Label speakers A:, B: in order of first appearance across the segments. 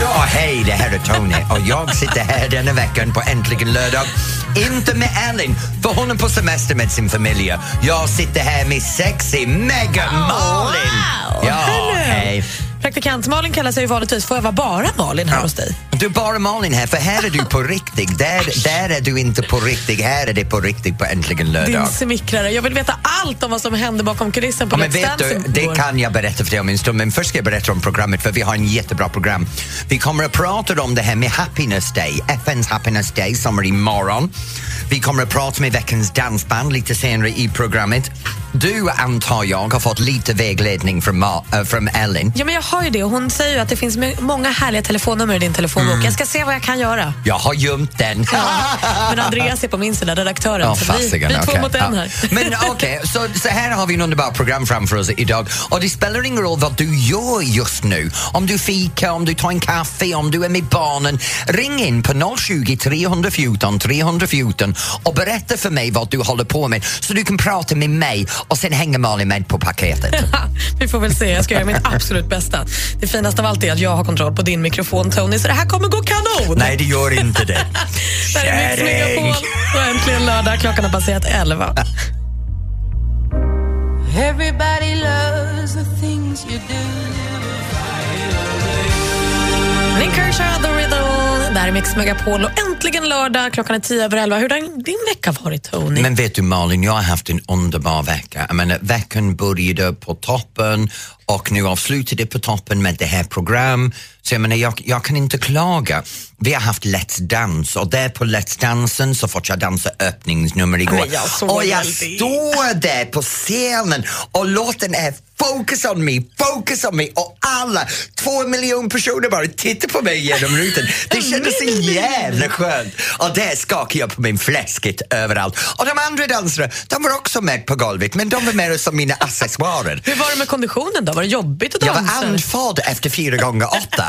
A: Ja, hej, det här är Tony och jag sitter här denna veckan på Äntligen lördag. Inte med Ellen, för hon är på semester med sin familj. Jag sitter här med sexy Megan Malin. Ja, hej.
B: Praktikant-Malin kallar sig ju vanligtvis Får jag vara bara Malin här hos dig?
A: Du är bara Malin här, för här är du på riktigt. Där, där är du inte på riktigt, här är det på riktigt på Äntligen
B: Din
A: lördag.
B: smickrare. Jag vill veta allt om vad som hände bakom kulissen på
A: Ja, men
B: Let's
A: vet
B: Dance
A: du,
B: igår.
A: det kan jag berätta för dig om en stund, men först ska jag berätta om programmet för vi har en jättebra program. Vi kommer att prata om det här med Happiness Day, FNs Happiness Day som är imorgon. Vi kommer att prata med veckans dansband lite senare i programmet. Du, antar jag, har fått lite vägledning från, Ma- äh, från Ellen.
B: Ja, men jag har ju det. Hon säger ju att det finns my- många härliga telefonnummer i din telefonbok.
A: Mm.
B: Jag ska se vad jag kan göra.
A: Jag har gömt den.
B: Men Andreas är på min sida, redaktören. så Alltså, vi, vi
A: fasiken,
B: två
A: okej.
B: mot en
A: Ja.
B: här.
A: Men okej, så, så här har vi en underbar program framför oss idag. Och det spelar ingen roll vad du gör just nu. Om du fikar, om du tar en kaffe, om du är med barnen. Ring in på 020 314 314 och berätta för mig vad du håller på med så du kan prata med mig och sen hänger Malin med på paketet.
B: Ha, vi får väl se. Jag ska göra mitt absolut bästa. Det finaste av allt är att jag har kontroll på din mikrofon, Tony, så det här kommer gå kanon!
A: Nej, det gör inte det.
B: det här är Mix
A: kärring.
B: Megapol och äntligen lördag. Klockan har passerat elva.
C: Everybody loves the things you do.
B: Nick Kershaw, The Riddle. Det här är Mix Megapol och äntligen lördag. Klockan är tio över elva. Hur har din vecka varit, Tony?
A: Men vet du Malin, jag har haft en underbar vecka. Jag menar, veckan började på toppen och nu avslutade på toppen med det här program. Så jag menar, jag, jag kan inte klaga. Vi har haft Let's Dance och där på Let's Dansen så fått jag dansa öppningsnummer igår.
B: Men jag såg
A: och jag
B: väl det.
A: står där på scenen och låten är Focus on me, focus on me och alla två miljoner personer bara tittar på mig genom rutan. Det kändes så jävla skönt. Och där skakade jag på min fläskigt överallt. Och de andra dansarna, de var också med på golvet men de var mer som mina accessoarer.
B: Hur var det med konditionen då? Var det jobbigt att
A: Jag
B: dansa?
A: var andfådd efter fyra gånger åtta.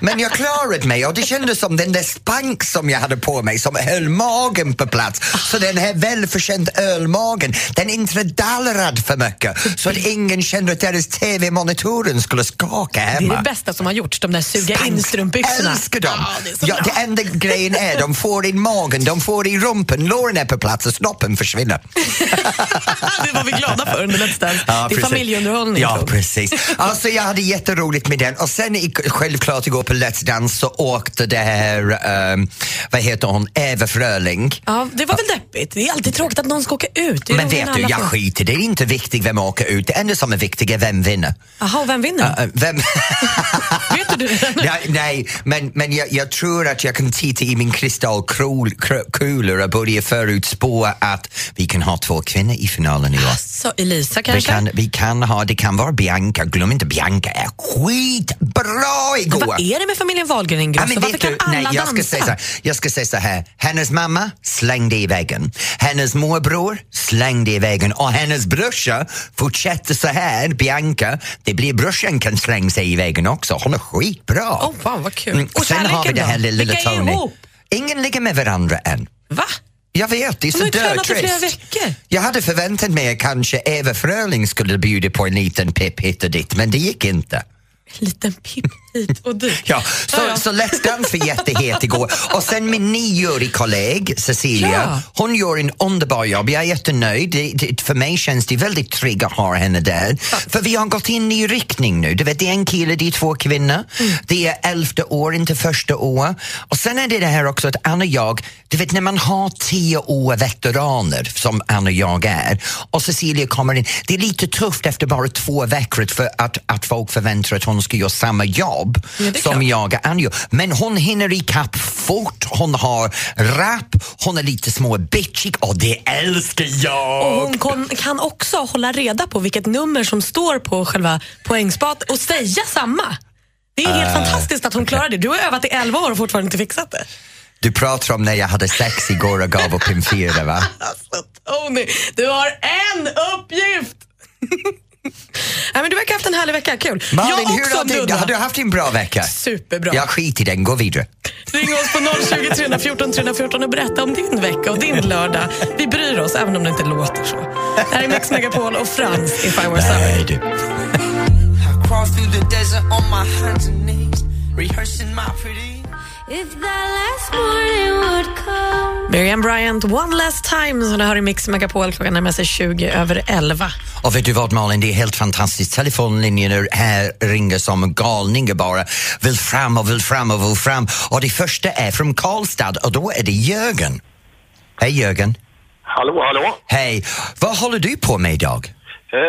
A: Men jag klarade mig och det kändes som den där spank som jag hade på mig som höll magen på plats. Så den här välförtjänt ölmagen, den inte dallrade för mycket så att ingen kände att deras TV-monitoren skulle skaka
B: det är det
A: hemma.
B: bästa som har gjorts, de där suga
A: Spank.
B: in-strumpbyxorna.
A: Älskar dem!
B: Ja, det är så
A: Ja,
B: bra.
A: det enda grejen är, de får in magen, de får i rumpen, låren är på plats och snoppen försvinner.
B: det var vi glada för under Let's Dance.
A: Ja,
B: det är
A: precis.
B: familjeunderhållning.
A: Ja,
B: tror jag.
A: precis. Alltså, jag hade jätteroligt med den. Och sen i- självklart igår på Let's Dance så åkte det här, ehm, vad heter hon, Eva Fröling.
B: ja, det var väl deppigt? Det är alltid tråkigt att någon ska åka ut. Det är
A: Men
B: roligare
A: vet
B: när
A: du,
B: alla
A: jag
B: får-
A: skiter i det. Det är inte viktigt vem åker ut. Det enda som är viktigt är vem vinner.
B: Jaha, och vem vinner?
A: Eh, Vem...
B: Vet du det?
A: nej, nej, men, men jag, jag tror att jag kan titta i min kristallkula och börja förutspå att vi kan ha två kvinnor i finalen i år.
B: Så Elisa
A: Vi
B: kanske?
A: kan, vi kan ha, det kan vara Bianca, glöm inte Bianca är skitbra igår!
B: Vad är det med familjen Wahlgren-Ingrosso?
A: Ja, men
B: Alltså, Varför
A: vet
B: kan
A: du,
B: alla
A: nej, jag, ska
B: dansa?
A: säga så här, jag ska säga så här, hennes mamma slängde i väggen, hennes morbror slängde i väggen och hennes brorsa fortsätter så här, Bianca, det blir brorsan kan slänga sig i väggen också, hon är skitbra.
B: Åh, fan, vad kul.
A: Mm,
B: Och
A: sen har vi
B: kärleken
A: det här
B: då?
A: lilla
B: Vilka är
A: Tony.
B: ihop?
A: Ingen ligger med varandra än.
B: Va?
A: Jag vet, det är så
B: De har ju tränat i
A: dötrist.
B: flera veckor.
A: Jag hade förväntat mig att kanske Eva Fröling skulle bjuda på en liten pipp hit och dit, men det gick inte.
B: Liten pipp hit och dit.
A: Ja, så,
B: Ja, ja.
A: så Let's Dance var jättehet igår. Och sen min nioårig kollega Cecilia,
B: Ja.
A: hon gör en underbar jobb. Jag är jättenöjd. Det, det, för mig känns det väldigt tryggt att ha henne där. För vi har gått in i en ny riktning nu. Du vet, det är en kille, det är två kvinnor.
B: Mm.
A: Det är elfte år, inte första år. Och sen är det det här också att Anna och jag, du vet när man har tio år veteraner som Anna och jag är och Cecilia kommer in. Det är lite tufft efter bara två veckor för att, att folk förväntar att hon ska göra samma jobb
B: Ja, det är
A: som
B: klart.
A: jag och Anjo. Men hon hinner ikapp fort, hon har rap, hon är lite små bitchig och det älskar jag!
B: Och hon kon, kan också hålla reda på vilket nummer som står på själva poängspat och
A: Ah.
B: säga samma. Det är helt fantastiskt att hon klarar det. Du har övat i 11 år och fortfarande inte fixat det.
A: Du pratar om när jag hade sex igår och gav upp en fyra va?
B: Alltså Tony, du har en uppgift! Nej, men du verkar ha haft en härlig vecka, kul.
A: Malin,
B: jag
A: hur
B: också
A: har du,
B: nudda.
A: har du haft en bra vecka?
B: Superbra.
A: Jag skiter i den, gå vidare.
B: Ring oss på 020 314 314 och berätta om din vecka och din lördag. Vi bryr oss, även om det inte låter så. Det här är Mix Megapol och Frans i Five Summer.
A: du.
C: I crawl through the desert on my hands and knees, rehearsing my pretty.
B: Miriam Bryant, One Last Time, som du hör i Mix Megapol. Klockan närmar sig 20 över 11.
A: Och vet du vad Malin, det är helt fantastiskt. Telefonlinjerna här ringer som galningar bara. Vill fram och vill fram och vill fram. Och det första är från Karlstad och då är det Jörgen. Hej Jörgen.
D: Hallå, hallå.
A: Hej. Vad håller du på med idag?
D: Eh,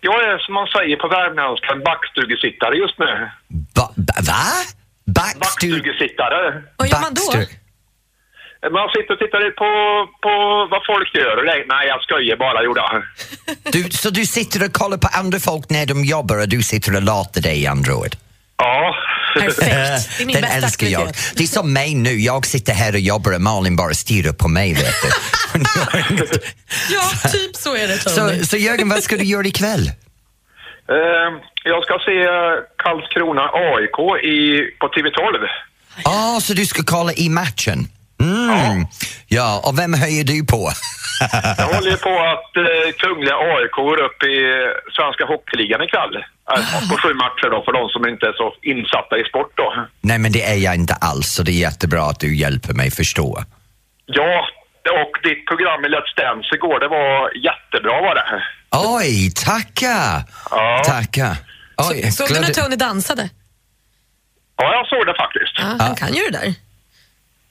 D: jag är som man säger på värmländska en backstugesittare just nu.
A: Ba, ba, va? Backstu-
D: Backstugesittare.
B: Vad gör man då?
A: Backstu-
D: Eh, Man sitter och tittar på, på vad folk gör. och det- Nej, jag skojar bara, gjorde jag.
A: Du, så du sitter och kollar på andra folk när de jobbar och du sitter och latar dig i andra ord?
D: Ja.
B: Perfekt. Det är min
A: Den
B: bästa
A: älskar jag.
B: aktivitet.
A: Det är som mig nu, jag sitter här och jobbar och Malin bara stirrar på mig vet du.
B: Ja, typ så är det Tony.
A: så, så Jörgen, vad ska du göra ikväll?
D: eh, jag ska se eh, Karlskrona AIK i, på TV12.
A: Ja, så du ska kolla i matchen? Mm. Ja, och vem höjer du på?
D: Jag håller ju på att eh, Kungliga AIK går upp i eh, Svenska Hockeyligan ikväll. Eh, på sju matcher då, för de som inte är så insatta i sport då.
A: Nej, men det är jag inte alls, så det är jättebra att du hjälper mig förstå.
D: Ja, och ditt program i Let's Dance igår, det var jättebra var det.
A: Oj, tacka!
D: Ja.
A: Tacka. Oj,
B: Såg du
A: glad-
B: när Tony dansade?
D: Ja, jag såg det faktiskt.
B: Ja, han kan ju det där.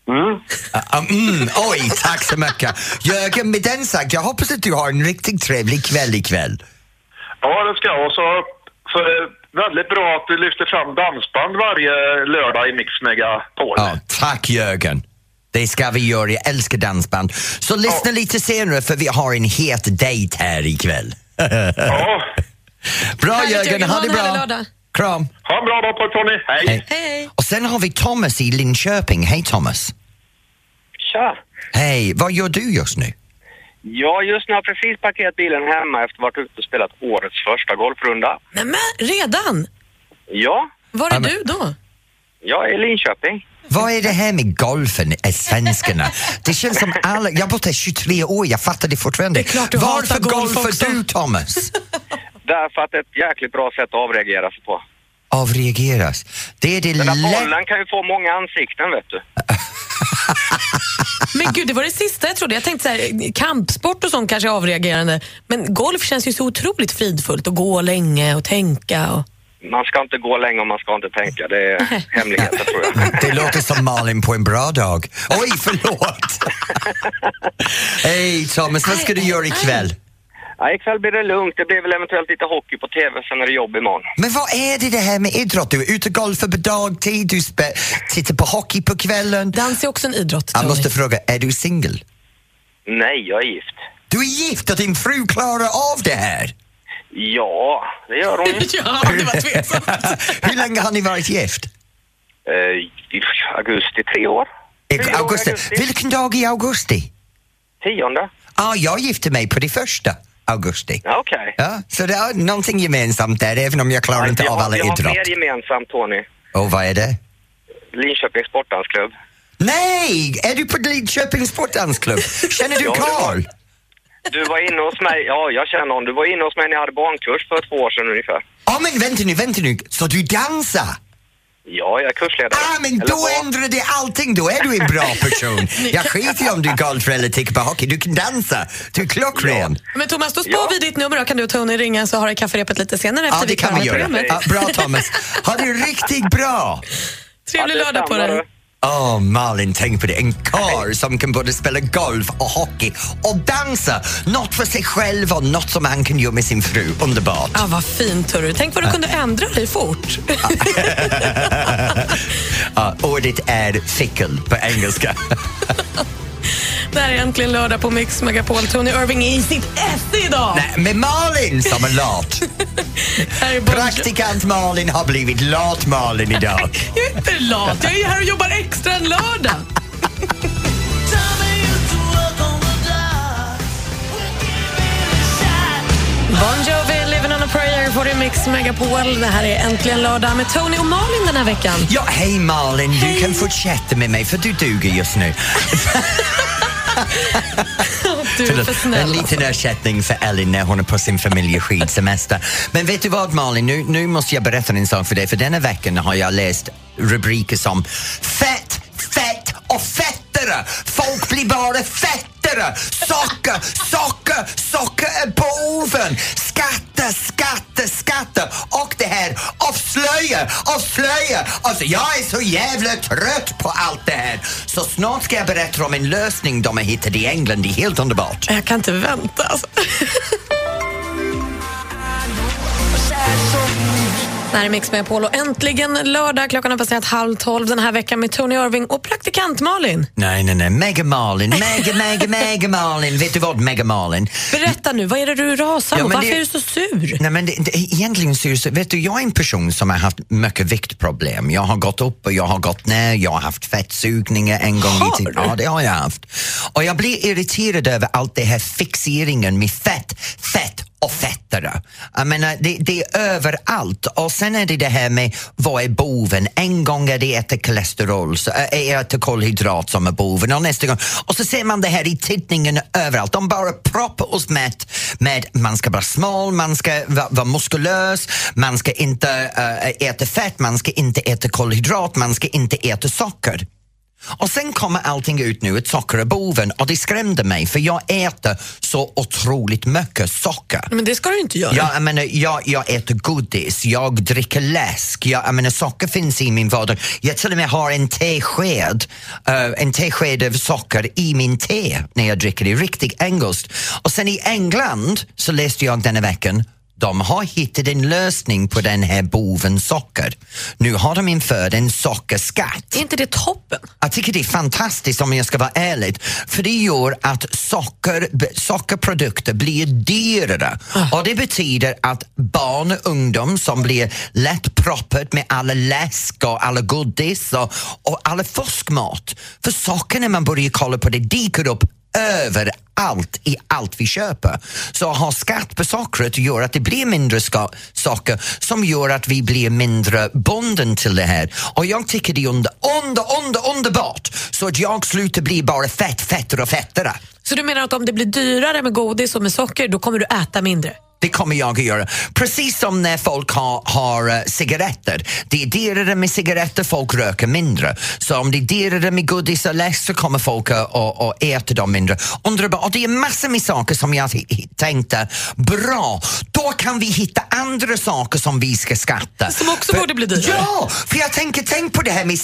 D: Mm.
A: Ah, mm, oj, tack så mycket. Jörgen, med den sagt, jag hoppas att du har en riktigt trevlig kväll ikväll.
D: Ja, det ska jag. Och så, så är det väldigt bra att du lyfter fram dansband varje lördag i Mix Megapol.
A: Ja, tack Jörgen. Det ska vi göra, jag älskar dansband. Så
D: Ja.
A: lyssna lite senare för vi har en het dejt här ikväll.
D: Ja.
A: Bra
B: Härligt,
A: Jörgen,
B: Jörgen.
A: ha
B: Ha
A: det
B: en härlig
A: bra.
B: lördag.
A: Kram.
D: Ha en bra dag på er, Tony. Hej!
A: Hej.
B: Hej.
A: Och sen har vi Thomas i Linköping. Hej Thomas.
E: Tja!
A: Hej, vad gör du just nu?
E: Ja, just nu har jag precis parkerat bilen hemma efter att ha varit ute och spelat årets första golfrunda.
B: Nej, men redan?
E: Ja,
B: Var är
A: Ja, men-
B: du då?
E: jag är i Linköping.
A: Vad är det här med golfen, är svenskarna? Det känns som alla... Jag har bott här 23 år, jag fattar det fortfarande.
B: Det är klart du
A: Varför
B: hatar golf
A: golfar
B: också.
A: du Thomas?
E: Därför att det är ett jäkligt bra sätt att avreagera sig på.
A: Avreageras. Det är det
E: Den där
A: lätt...
E: bollen kan ju få många ansikten, vet du.
B: Men gud, det var det sista jag trodde. Jag tänkte så här, kampsport och sånt kanske är avreagerande. Men golf känns ju så otroligt fridfullt. Att gå länge och tänka. Och...
E: Man ska inte gå länge och man ska inte tänka. Det är hemligheten, tror jag.
A: Det låter som Malin på en bra dag. Oj, förlåt! Hej Thomas, vad ska du göra ikväll?
E: Ja, ikväll blir det lugnt. Det blir väl eventuellt lite hockey på TV, sen är det jobb imorgon.
A: Men vad är det det här med idrott? Du är ute och golfar på dagtid, du spe- tittar på hockey på kvällen.
B: Dans är också en idrott,
A: Jag
B: Tony.
A: måste fråga, är du singel?
E: Nej, jag är gift.
A: Du är gift och din fru klarar av det här!
E: Ja, det gör hon.
B: Ja, det var tveksamt.
A: Hur länge har ni varit gift?
E: Eh, I augusti, tre år.
A: I
E: Tre år i
A: augusti. Vilken dag i augusti?
E: Tionde.
A: Ah, jag gifte mig på det första augusti.
E: Ja, Okej.
A: Ja, så det är någonting gemensamt där, även om jag klarar inte
E: jag,
A: av alla
E: jag har
A: idrott.
E: mer gemensamt, Tony.
A: Och vad är det?
E: Linköpings sportdansklubb.
A: Nej! Är du på Lidköpings sportdansklubb? Känner du
E: Ja, det var-
A: Karl?
E: Du var inne hos mig, ja jag känner honom, du var inne hos mig när jag hade barnkurs för två år sedan ungefär.
A: Ja, men vänta nu, vänta nu. Så du dansar?
E: Ja, jag är kursledare.
A: Ah, men
E: Eller
A: då
E: var.
A: ändrar det allting. Då är du en bra person. Jag skiter i om du är golfare eller tickar på hockey. Du kan dansa. Du är klockren.
B: Men Thomas, då spar
E: Ja.
B: vi ditt nummer. Då kan du och Tony ringa så har du kafferepet lite senare
A: Ja,
B: efter
A: det kan vi
B: klarar
A: göra.
B: programmet.
A: Ja, bra, Thomas. Ha det riktigt bra.
B: Trevlig
E: Ja, det
B: lördag på
E: stämmer,
B: dig.
E: du.
A: Åh, Malin, tänk på det. En karl som kan både spela golf och hockey och dansa. Något för sig själv och något som han kan göra med sin fru. Underbart.
B: Ja, vad fint, hörru. Tänk vad du kunde ändra dig fort.
A: Ja, ordet är fickle på engelska.
B: Det här är äntligen lördag på Mix Megapol. Tony Irving är i sitt esse idag.
A: Nej, men Malin som är lat.
B: Här är Bon-
A: Praktikant Malin har blivit lat Malin idag.
B: Jag är inte lat. Jag är här och jobbar extra en lördag. Bon Jovi, Living on a prayer får du i Mix Megapol. Det här är äntligen lördag med Tony och Malin den här veckan.
A: Ja, hej Malin, du kan fortsätta med mig för du duger just nu.
B: Du är för
A: en
B: snäll.
A: liten ersättning för Elin när hon är på sin familjeskidsemester. Men vet du vad Malin, nu, nu måste jag berätta en sak för dig för denna veckan har jag läst rubriker som Fett, fett och fettare! Folk blir bara fettare! Socker, socker, socker är boven! Skatter, skatter, skatter! Och det här avslöja, avslöja! Alltså jag är så jävla trött på allt det här. Så snart ska jag berätta om en lösning de har hittat i England. Det är helt underbart.
B: Jag kan inte vänta. Alltså. Det här är Mix Megapol och äntligen lördag. Klockan har passerat halv tolv den här veckan med Tony Irving och praktikant Malin.
A: Nej, nej, nej. Mega Malin, mega, mega, mega Malin. Vet du vad, mega Malin?
B: Berätta nu, vad är det du rasar
A: Ja,
B: mot?
A: men
B: Varför
A: det-
B: är du så sur?
A: Nej, men det, det, egentligen så, är det så- vet du, jag är en person som har haft mycket viktproblem. Jag har gått upp och jag har gått ner, jag har haft fettsugningar en gång
B: Har
A: i tiden.
B: du?
A: Ja, det har jag haft. Och jag blir irriterad över allt det här fixeringen med fett, fett och fettare. Jag menar, det, det är överallt. Och sen är det det här med vad är boven? En gång är det äta kolesterol, så, ä, ä, äta kolhydrat som är boven och nästa gång... Och så ser man det här i tidningen överallt. De bara proppar oss med, med man ska vara smal, man ska vara, vara muskulös, man ska inte ä, äta fett, man ska inte äta kolhydrat, man ska inte äta socker. Och sen kommer allting ut nu, ett socker är boven och det skrämde mig för jag äter så otroligt mycket socker.
B: Men det ska du inte göra.
A: Ja, jag, menar, jag, jag äter godis, jag dricker läsk, jag, jag menar, socker finns i min vardag. Jag till och med har en tesked, eh, en tesked av socker i min te när jag dricker det, riktigt engelskt. Och sen i England så läste jag denna veckan de har hittat en lösning på den här boven socker. Nu har de infört en sockerskatt.
B: Är inte det toppen?
A: Jag tycker det är fantastiskt om jag ska vara ärlig. För det gör att socker, b- sockerprodukter blir dyrare. Och det betyder att barn och ungdom som blir lätt proppat med alla läsk och alla godis och, och alla fuskmat. För socker när man börjar kolla på det dyker upp överallt i allt vi köper. Så att ha skatt på sockret gör att det blir mindre ska- socker som gör att vi blir mindre bunden till det här. Och jag tycker det är under, under, under, underbart så att jag slutar bli bara fett, fettare och fettare.
B: Så du menar att om det blir dyrare med godis och med socker, då kommer du äta mindre?
A: Det kommer jag att göra. Precis som när folk har, har eh, cigaretter. Det är dyrare med cigaretter, folk röker mindre. Så om det är dyrare med godis och läsk så kommer folk att, att, att äta dem mindre. Underbart. Och det är massor med saker som jag hi- hi- tänkte, bra, då kan vi hitta andra saker som vi ska skatta.
B: Som också borde bli dyrare.
A: Ja, för jag tänker, tänk på det här med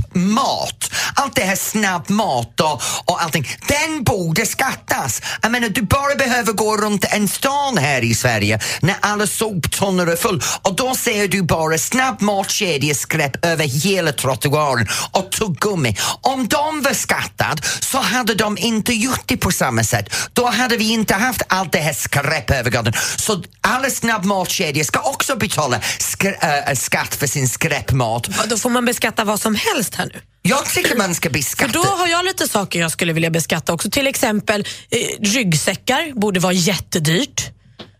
A: skräpmat. Allt det här snabbmat och, och allting. Den borde skattas. Jag menar, du bara behöver gå runt en stan här i Sverige när alla soptunnor är full och då ser du bara snabbmatkedjeskräp över hela trottoaren och tuggummi. Om de var skattade så hade de inte gjort det på samma sätt. Då hade vi inte haft allt det här skräp över gatan. Så alla snabbmatskedjor ska också betala skr- äh, skatt för sin skräpmat.
B: Ja, Då får man beskatta vad som helst här nu.
A: Jag tycker man ska
B: För
A: beskatta.
B: då har jag lite saker jag skulle vilja beskatta också. Till exempel eh, ryggsäckar borde vara jättedyrt.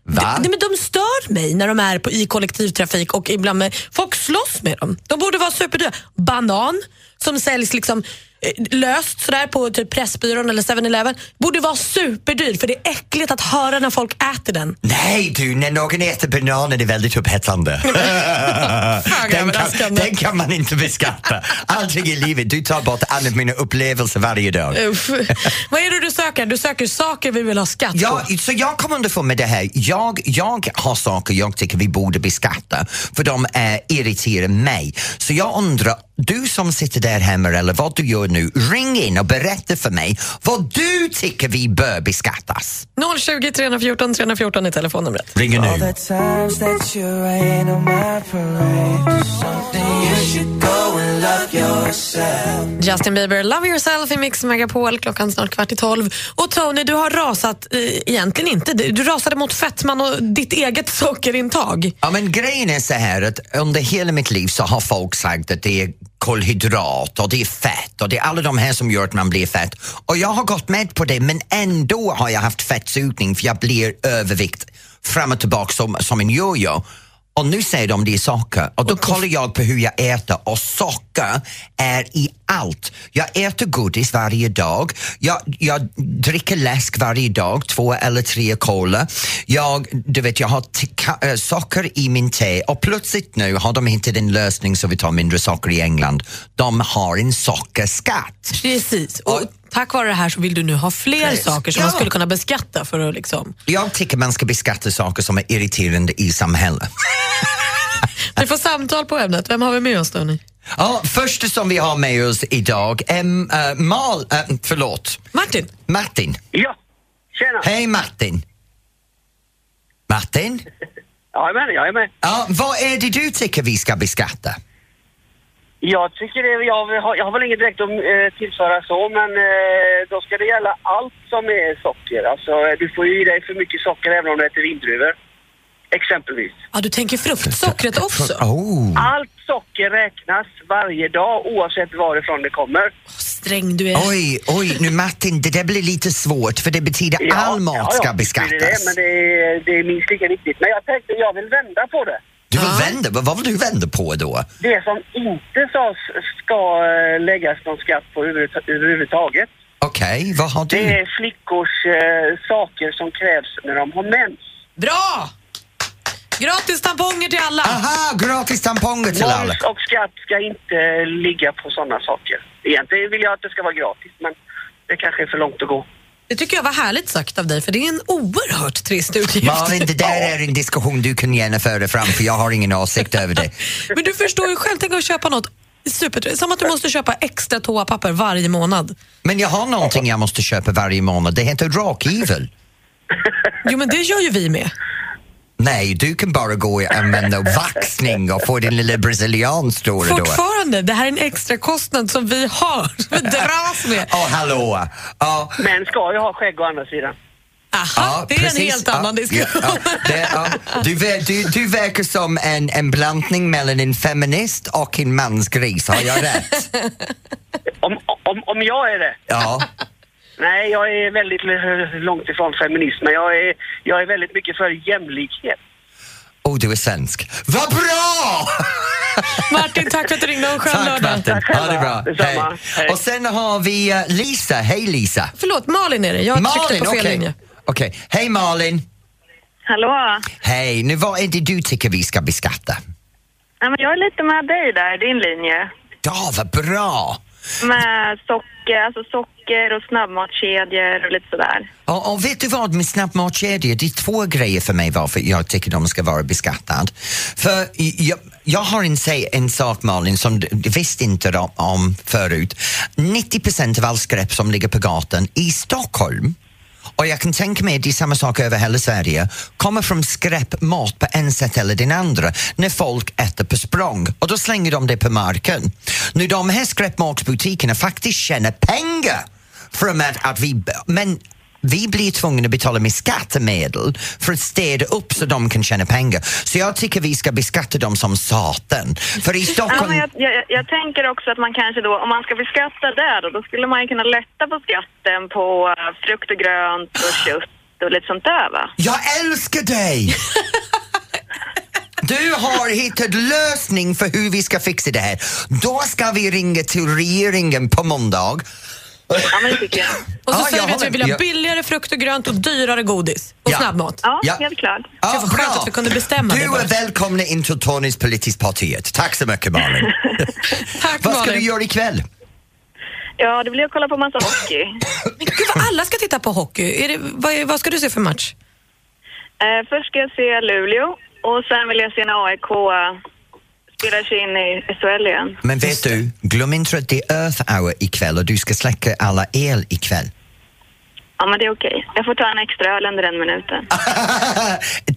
A: Va?
B: Nej, men de stör mig när de är på, i kollektivtrafik och ibland med, folk slåss med dem. De borde vara superdyra. Banan som säljs liksom eh, löst sådär på typ Pressbyrån eller 7-Eleven borde vara superdyr för det är äckligt att höra när folk äter den.
A: Nej du, när någon äter bananer det är väldigt upphetsande. den, kan,
B: överraskande.
A: den kan man inte beskatta. Allting i livet, du tar bort alla mina upplevelser varje dag.
B: Uff. Vad är det du söker? Du söker saker vi vill ha skatt på.
A: Ja, så jag kommer underfund med det här. Jag, jag har saker jag tycker vi borde beskatta för de eh, irriterar mig. Så jag undrar, du som sitter där hemma eller vad du gör nu, ring in och berätta för mig vad du tycker vi bör beskattas.
B: 020 314 314 är telefonnumret.
A: Ring nu.
C: The times that you rain on my parade. Something you should go and love yourself.
B: Justin Bieber, Love yourself i Mix Megapol, klockan snart kvart i tolv. Och Tony, du har rasat, eh, egentligen inte, du, du rasade mot fetman och ditt eget sockerintag.
A: Ja, men grejen är så här att under hela mitt liv så har folk sagt att det är kolhydrat och det är fett och det är alla de här som gör att man blir fett. Och jag har gått med på det men ändå har jag haft fettsugning för jag blir övervikt fram och tillbaka som, som en jojo. Och nu säger de det är socker och då kollar jag på hur jag äter och socker är i allt. Jag äter godis varje dag, jag, jag dricker läsk varje dag, två eller tre cola. Jag, du vet, jag har t- ka- eh, socker i min te och plötsligt nu har de hittat en lösning så vi tar mindre socker i England. De har en sockerskatt.
B: Precis. Och tack vare det här så vill du nu ha fler
A: Precis.
B: saker som
A: Ja.
B: man skulle kunna beskatta för att liksom...
A: Jag tycker man ska beskatta saker som är irriterande i samhället.
B: Vi får samtal på ämnet. Vem har vi med oss då? Ni?
A: Ja, första som vi har med oss idag är äh, Mal, äh, förlåt,
B: Martin?
A: Martin.
E: Ja, tjena!
A: Hej Martin! Martin?
E: Jag är med, jag är med.
A: Ja, vad är det du tycker vi ska beskatta?
E: Jag tycker det, jag, har- jag har väl inget direkt att eh, tillföra så, men eh, då ska det gälla allt som är socker. Alltså, eh, du får ju i dig för mycket socker även om du äter vindruvor. Exempelvis.
B: Ja, du tänker fruktsockret också?
A: Oh.
E: Allt socker räknas varje dag oavsett varifrån det kommer.
B: Sträng du är.
A: Oj, oj, nu Martin, det där blir lite svårt för det betyder
E: Ja,
A: all
E: ja, ja,
A: mat ska
E: visst är
A: beskattas.
E: Det det, men det är, det är minst lika viktigt. Men jag tänkte, jag vill vända på det.
A: Du vill vända, vad- vad vill du vända på då?
E: Det som inte sades ska eh, läggas någon skatt på överhuvud- överhuvudtaget,
A: Okej, vad har
E: det
A: du?
E: är flickors eh, saker som krävs när de har mens.
B: Bra! Gratis tamponger till alla!
A: Aha, gratis tamponger till alla!
E: Moms och skatt ska inte ligga på sådana saker. Egentligen vill jag att det ska vara gratis, men det kanske är för långt att gå.
B: Det tycker jag var härligt sagt av dig, för det är en oerhört trist utgift.
A: Malin, det där är en diskussion du kan genomföra fram för jag har ingen åsikt över det.
B: Men du förstår ju själv, tänk att köpa något super... Som att du måste köpa extra toapapper varje månad.
A: Men jag har någonting jag måste köpa varje månad, det heter rakhyvel.
B: Jo, men det gör ju vi med.
A: Nej, du kan bara gå och använda vaxning och få din lilla brasilian stora då.
B: Fortfarande, det här är en extra kostnad som vi har, som vi dras med.
A: Åh, hallå! Ja,
E: Män ska ju ha skägg å andra sidan.
B: Aha,
A: ja,
B: det är en
A: precis.
B: helt annan
A: Ja,
B: diskussion.
A: ja, ja. Det- ja. Du ver- Du du verkar som en, en blandning mellan en feminist och en mansgris, har jag rätt?
E: Om, om, om jag är det?
A: Ja.
E: Nej, jag är väldigt l- långt ifrån feminist, men jag är, jag är väldigt mycket för jämlikhet.
A: Och Oh, du är svensk. Vad bra!
B: Martin, tack för att du ringde. Ha en skön
A: Tack
B: lördag.
A: Martin, ha det bra.
E: Detsamma. Hej.
A: Och sen har vi eh, Lisa, hej Lisa.
B: Förlåt, Malin är det. Jag tryckte
A: Malin,
B: på fel
A: okej.
B: linje.
A: Okej. Hej Malin.
F: Hallå!
A: Hej, nu vad är det du tycker vi ska beskatta?
F: Ja, men jag är lite med dig där, din linje.
A: Ja, vad bra!
F: Med socker, alltså socker och snabbmatskedjor och lite sådär.
A: Och, och vet du vad med snabbmatskedjor, det är två grejer för mig varför jag tycker de ska vara beskattade. För jag, jag har en, sä- en sak Malin som du du visste inte om, om förut. 90 procent av all skräp som ligger på gatan i Stockholm och jag kan tänka mig att det är samma sak över hela Sverige, kommer från skräpmat på en sätt eller den andra när folk äter på språng och då slänger de det på marken. Nu de här skräpmatsbutikerna faktiskt tjänar pengar från att, att vi, men vi blir tvungna att betala med skattemedel för att städa upp så de kan tjäna pengar. Så jag tycker vi ska beskatta dem som satan. För i
F: Ja, men
A: Stockholm...
F: jag, jag, jag tänker också att man kanske då, om man ska beskatta där då, då skulle man ju kunna lätta på skatten på eh, frukt och grönt och kött och lite sånt där va?
A: Jag älskar dig! Du har hittat lösning för hur vi ska fixa det här. Då ska vi ringa till regeringen på måndag.
F: Ja, men det tycker jag.
B: Och så
A: Ja,
B: säger
A: jag
B: vi att vi
A: håller-
B: vill ha
A: jag-
B: billigare frukt och grönt och dyrare godis och
A: Ja.
B: snabbmat.
F: Ja,
A: Ja.
F: helt klart.
B: Det var skönt
A: bra.
B: att vi kunde bestämma
A: Du
B: det bara.
A: är välkommen in till Tonys politiskt partiet. Tack så mycket Malin.
B: Tack
A: Vad ska
B: Malin.
A: du göra ikväll?
F: Ja, det blir att kolla på massa hockey.
B: Men gud vad alla ska titta på hockey. Är det, vad, är- vad ska du se för match?
F: Eh, först ska jag se Luleå och sen vill jag se när AIK spelar sig in i SHL igen.
A: Men vet du, glöm inte att det är Earth hour ikväll och du ska släcka alla el ikväll.
F: Ja, men det är okej. Jag får ta en extra öl under den minuten.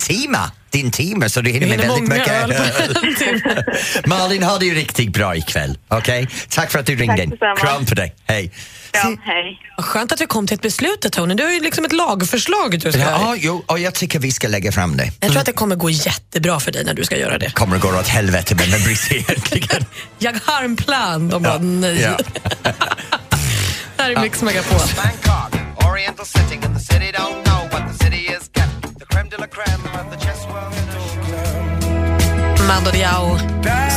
A: Tima, det en timme så du hinner med
B: hinner
A: väldigt
B: många
A: mycket
B: öl på
A: öl.
B: en timme.
A: Malin, ha det ju riktigt bra ikväll. Okej? Tack för att du ringde. in.
F: detsamma.
A: Kram på dig. Hej.
F: Ja, hej.
B: Vad Skönt att vi kom till ett beslut där, Tony. Du har ju liksom ett lagförslag du ska...
A: Ja, jo, och jag tycker vi ska lägga fram det. Mm.
B: Jag tror att det kommer gå jättebra för dig när du ska göra det.
A: Kommer att gå åt helvete men vem bryr sig egentligen?
B: Jag har en plan. De bara nej.
A: Ja.
B: Det här är Mix Megapol.
G: Bangkok, oriental setting, and the city don't know what the city is kept. The creme de la creme of the chess world.
B: Mando Diao.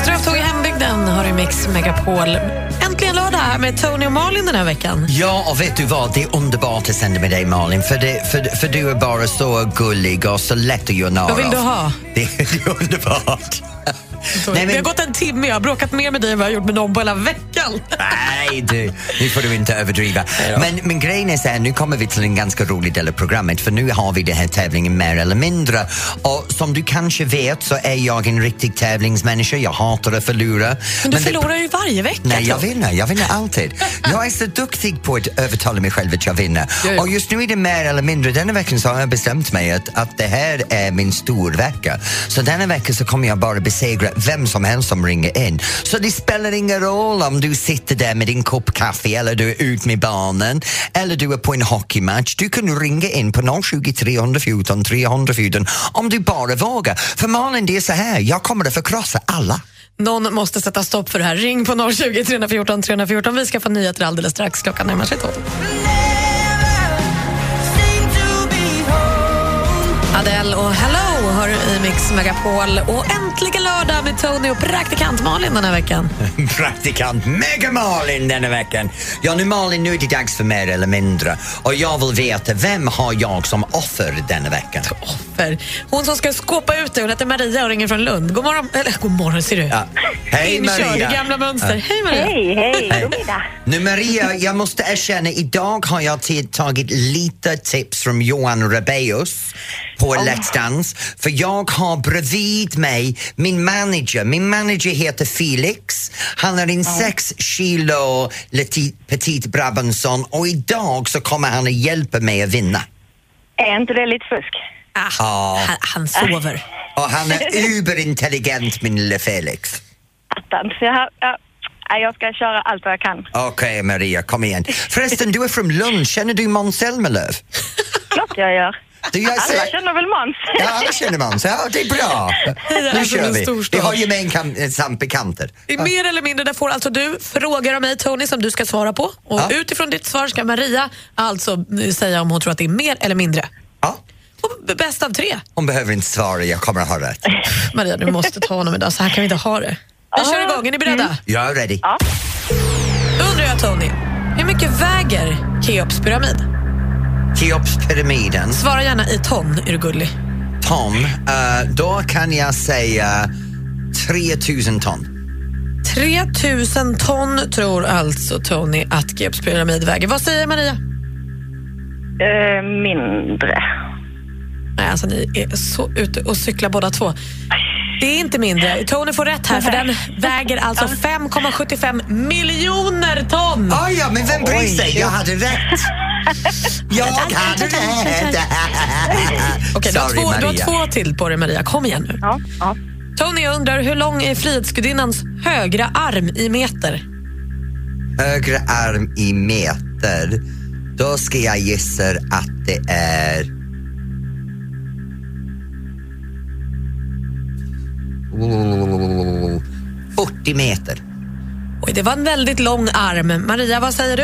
B: Strövtåg i hembygden har du Mix Megapol. Äntligen lördag här med Tony och Malin den här veckan.
A: Ja, och vet du vad? Det är underbart att sända med dig Malin för, det, för, för du är bara så gullig och så lätt att göra narr
B: Vad vill
A: av.
B: du ha?
A: Det, det är underbart. Nej,
B: Vi har
A: men,
B: gått en timme, jag har bråkat mer med dig än vad jag har gjort med någon på hela veckan.
A: nej du, nu får du inte överdriva. Men, men grejen är så här, nu kommer vi till en ganska rolig del av programmet för nu har vi den här tävlingen mer eller mindre. Och som du kanske vet så är jag en riktig tävlingsmänniska. Jag hatar att förlora.
B: Men du
A: det-
B: förlorar ju varje vecka.
A: Nej, jag
B: tror
A: vinner. Jag vinner alltid. Jag är så duktig på att övertala mig själv att jag vinner. Och just nu är det mer eller mindre, denna veckan så har jag bestämt mig att, att det här är min storvecka. Så denna vecka så kommer jag bara besegra vem som helst som ringer in. Så det spelar ingen roll om du sitter där med din kopp kaffe eller du är ut med barnen eller du är på en hockeymatch. Du kan ringa in på 020 314 314 om du bara vågar. För Malin, det är så här, jag kommer att förkrossa alla.
B: Någon måste sätta stopp för det här. Ring på 020 314 314. Vi ska få nyheter alldeles strax. Klockan närmar sig tolv. Adele och Hello har du i Mix Megapol. Och äntligen lördag med Tony och praktikant Malin den här veckan.
A: praktikant Mega-Malin denna veckan. Ja, nu Malin, nu är det dags för mer eller mindre. Och jag vill veta, vem har jag som offer denna veckan?
B: För hon som ska skåpa ut det, hon heter Maria och ringer från Lund. God morgon, eller god morgon ser du.
A: Ja. Hej
B: Inkörd i
A: Maria!
B: gamla mönster. Hej Maria.
F: Hej, hej. God middag.
A: Nu Maria, jag måste erkänna, idag har jag t- tagit lite tips från Johan Rabaeus på Let's Dance. För jag har bredvid mig min manager. Min manager heter Felix. Han är en sex kilo lite- petit Brabanson och idag så kommer han att hjälpa mig att vinna.
F: Är inte det lite fusk?
A: Ja.
B: Ah, han, han sover.
A: Och han är überintelligent min lille Felix.
F: Attans. Jag, jag, nej, jag ska köra allt vad jag kan.
A: Okej Maria, kom igen. Förresten, du är från Lund, känner du Måns Zelmerlöw?
F: Klart Alltså, jag gör.
A: Du, jag
F: Alla
A: ser-
F: känner väl Måns?
A: Ja, alla känner Måns. Ja, det är bra.
B: är
A: Nu
B: från
A: kör
B: en
A: vi.
B: storstad.
A: Vi har gemensamt bekanter.
B: Det är mer eller mindre där får alltså du frågor av mig Tony som du ska svara på. Och
A: Ja.
B: utifrån ditt svar ska Maria alltså eh, säga om hon tror att det är mer eller mindre.
A: Ja,
B: Och b- bäst av tre.
A: hon behöver inte svara, jag kommer att ha rätt.
B: Maria, du måste ta honom idag. Så här kan vi inte ha det. Vi kör igång. Är ni beredda?
A: Jag är ready.
B: Då undrar jag, Tony, hur mycket väger Keops pyramid?
A: Keopspyramiden,
B: Svara gärna i ton, är du gullig.
A: ton. eh, då kan jag säga 3000
B: Mm.
A: ton.
B: 3000 ton tror alltså Tony att Keops pyramid väger. Vad säger Maria?
F: Eh, mindre.
B: Nej, alltså ni är så ute och cyklar båda två. Det är inte mindre. Tony får rätt här för den väger alltså 5,75 miljoner ton.
A: Ah, ja, men vem bryr sig? Jag hade rätt. Jag hade rätt.
B: Okej, du, har
A: Sorry,
B: två, du
A: Maria.
B: har två till på dig Maria. Kom igen nu.
F: Ja, ja.
B: Tony, jag undrar hur lång är Frihetsgudinnans högra arm i meter?
A: högre arm i meter, då ska jag gissa att det är... Oh, 40 meter.
B: Oj, det var en väldigt lång arm. Maria, vad säger du?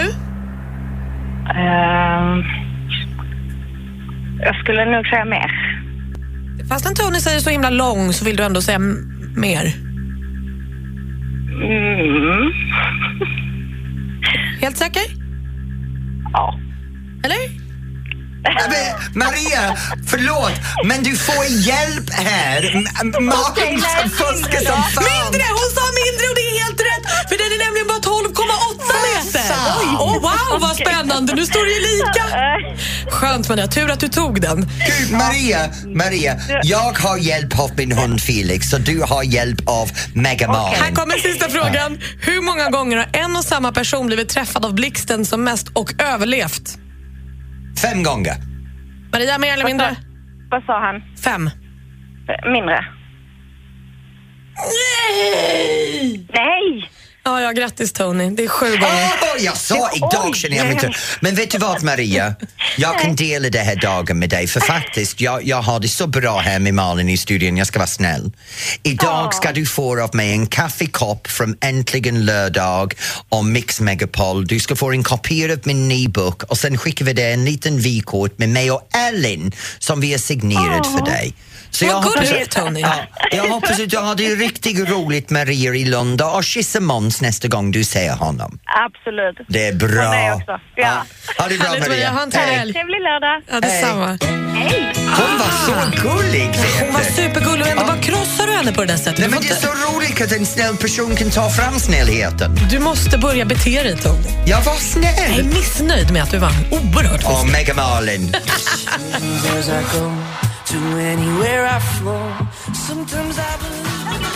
F: Ehm, jag skulle nog säga mer.
B: Fastän Tony säger så himla lång så vill du ändå säga m- mer.
F: Mm.
B: Helt säker?
F: Ja.
B: Eller?
A: Ja, men, Maria, förlåt, men du får hjälp här. M-
F: Okej,
A: Malin
F: nej,
A: som fuskar
F: mindre
A: som
F: då.
A: fan.
B: Mindre! Hon sa mindre och det är helt rätt! För den är nämligen bara 12,8 meter! Oj, Åh wow vad spännande! Nu står det ju lika!
F: Eh,
B: Skönt Maria, tur att du tog den.
A: Gud, Maria, Maria, jag har hjälp av min hund Felix och du har hjälp av Mega-Malin.
B: Här kommer sista frågan. Hur många gånger har en och samma person blivit träffad av blixten som mest och överlevt?
A: Fem gånger.
B: Maria, mer eller mindre?
F: Vad sa han?
B: Fem.
F: Eh, Mindre.
B: Nej!
F: Nej!
B: Ja, ja, grattis Tony. Det är sju gånger.
A: Åh, Ah, jag sa idag känner jag mig inte... Men vet du vad Maria? Jag kan dela den här dagen med dig för faktiskt, jag, jag har det så bra här med Malin i studion, jag ska vara snäll. Idag ska du få av mig en kaffekopp från Äntligen lördag om Mix Megapol. Du ska få en kopia av min nybok och sen skickar vi dig en liten vykort med mig och Ellen som vi har signerat för dig. Så
B: Vad gulligt,
A: att-
B: Tony.
A: Ja, jag hoppas att du har det riktigt roligt Maria i Lund och kyssa Måns nästa gång du ser honom.
F: Absolut.
A: Det är
F: Och mig
A: bra.
F: också. Ja.
A: Ha det bra
B: Härligt, Maria. Ha
A: Maria.
B: en trevlig
A: Hej.
B: helg.
F: Trevlig lördag.
B: Ja, detsamma.
F: Hej!
A: Hon var så gullig
B: Ah. Hon var
A: vet du.
B: supergullig och ändå bara krossar du henne på det där sättet.
A: Nej,
B: Du,
A: men
B: får
A: det är
B: inte,
A: så roligt att en snäll person kan ta fram snällheten.
B: du måste börja bete dig Tony.
A: Jag var
B: Jag är
A: snäll.
B: missnöjd med att du vann. Oerhört
A: Åh, Mega Malin.
C: As I go to anywhere I flow, sometimes I believe.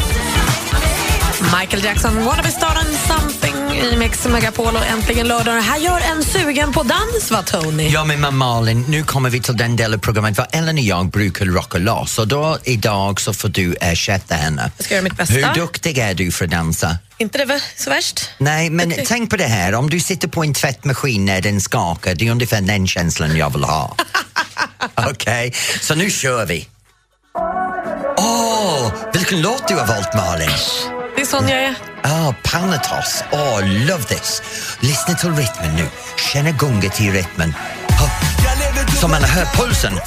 B: Michael Jackson, Wannabe-staren Something i Mix Megapol och äntligen lördag. Det här gör en sugen på dans va Tony?
A: Ja, men mamma Malin, nu kommer vi till den delen av programmet var Ellen och jag brukar rocka loss och då idag så får du ersätta henne.
B: Jag ska göra mitt bästa.
A: Hur duktig är du för att dansa?
B: Inte det var så värst?
A: Nej, men tänk på det här. Om du sitter på en tvättmaskin när den skakar, det är ungefär den känslan jag vill ha. Okej, så nu kör vi. Åh, vilken låt du har valt, Malin.
B: Det är sån jag är.
A: Ah, Panatos. Åh, love this. Lyssna till rytmen nu. Känna gunget i rytmen. Ha. Så man hör pulsen.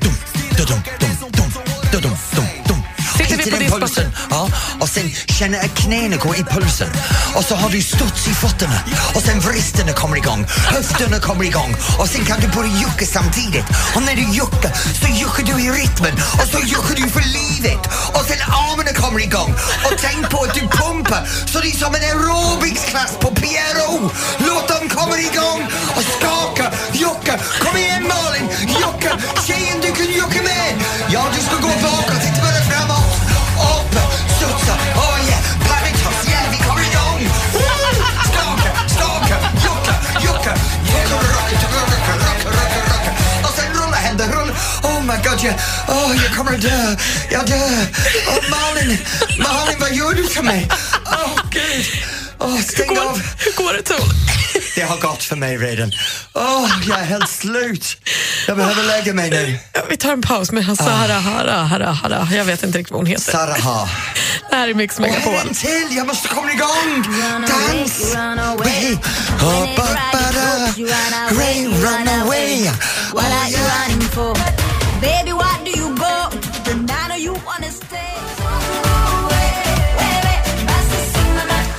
A: Dum, dum, dum, dum, dum, dum, dum, dum.
B: Sitter vi
A: Hittar
B: på
A: den
B: diskbänken?
A: pulsen. Ja, och sen känner att knäna går i pulsen. Och så har du studs i fötterna. Och sen vristerna kommer igång. Höfterna kommer igång. Och sen kan du börja jucka samtidigt. Och när du juckar så juckar du i rytmen. Och så juckar du för livet. Och sen armarna kommer igång. Och tänk på att du pumpar så det är som en aerobicsklass på PRO. Låt dem komma igång och skaka, jucka. Kom igen Malin, jucka. Tjejen du kan jucka med. Ja, du ska gå bakåt, inte bara framåt. Upp, studsa, oh yeah. Paritas, yeah, vi kommer igång. Woo! Skaka, skaka, jucka, jucka. Jucka, rocka, rocka, rocka, rocka, rocka. Och sen rulla händer, rulla. Oh my god, jag, oh, jag kommer dö. Jag dör. Oh, Malin, Malin, vad gör du för mig? Åh gud. Oh, stäng av.
B: Hur går det Tony?
A: Det har gått för mig redan. Åh, jag är helt slut. Jag behöver lägga mig nu.
B: Ja, Vi tar en paus med
A: Ah.
B: Sahara Hara Hara Hara. Jag vet inte riktigt vad hon heter.
A: Saraha.
B: Det här är Mix
A: Och
B: Megapol.
A: en till, jag måste komma igång! Dans! Way! Oh, ba, ba, da. Ray, run away! Oh, yeah.
H: Baby, why do you go? And I know you wanna stay. Oh,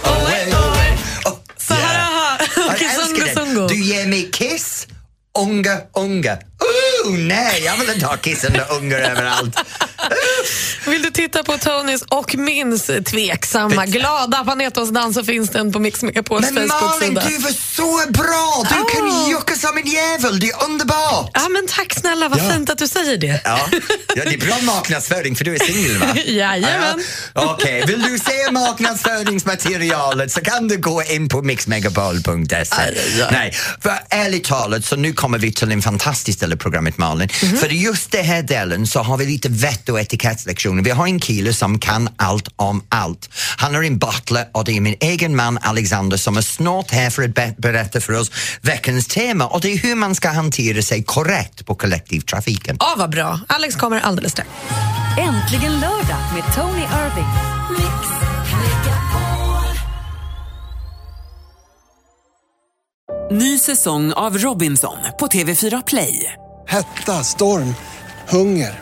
A: Away, away. Oh,
B: Sahara
A: yeah.
B: Hara.
A: Jag
B: Okej, Sungo
A: älskar den.
B: Sungo.
A: Du ger mig kiss, unga, unga. Ooh, nej, jag vill inte ha kissande ungar överallt.
B: Vill du titta på Tonys och Mins tveksamma glada panetosdans så finns den på Mix Megapols
A: Men Malin,
B: Facebook-sida.
A: du var så bra! Du kan
B: Åh.
A: jucka som en jävel, det är underbart!
B: Ja, men tack snälla, vad
A: Ja.
B: fint att du säger det.
A: Ja. ja, det är bra marknadsföring för du är singel va?
B: Jajamän.
A: Ja. Ah, Okej, vill du se marknadsföringsmaterialet så kan du gå in på mixmegapol.se. Nej, för ärligt talat så nu kommer vi till en fantastisk del av programmet Malin. För i just den här delen så har vi lite vett och etikettlektioner. Vi har en kille som kan allt om allt. Han är en butler och det är min egen man Alexander som är snart här för att be- berätta för oss veckans tema och det är hur man ska hantera sig korrekt på kollektivtrafiken.
B: Ja, vad bra. Alex kommer alldeles strax.
I: Äntligen lördag med Tony Irving.
J: Ny säsong av Robinson på TV4 Play.
K: Hetta, storm, hunger.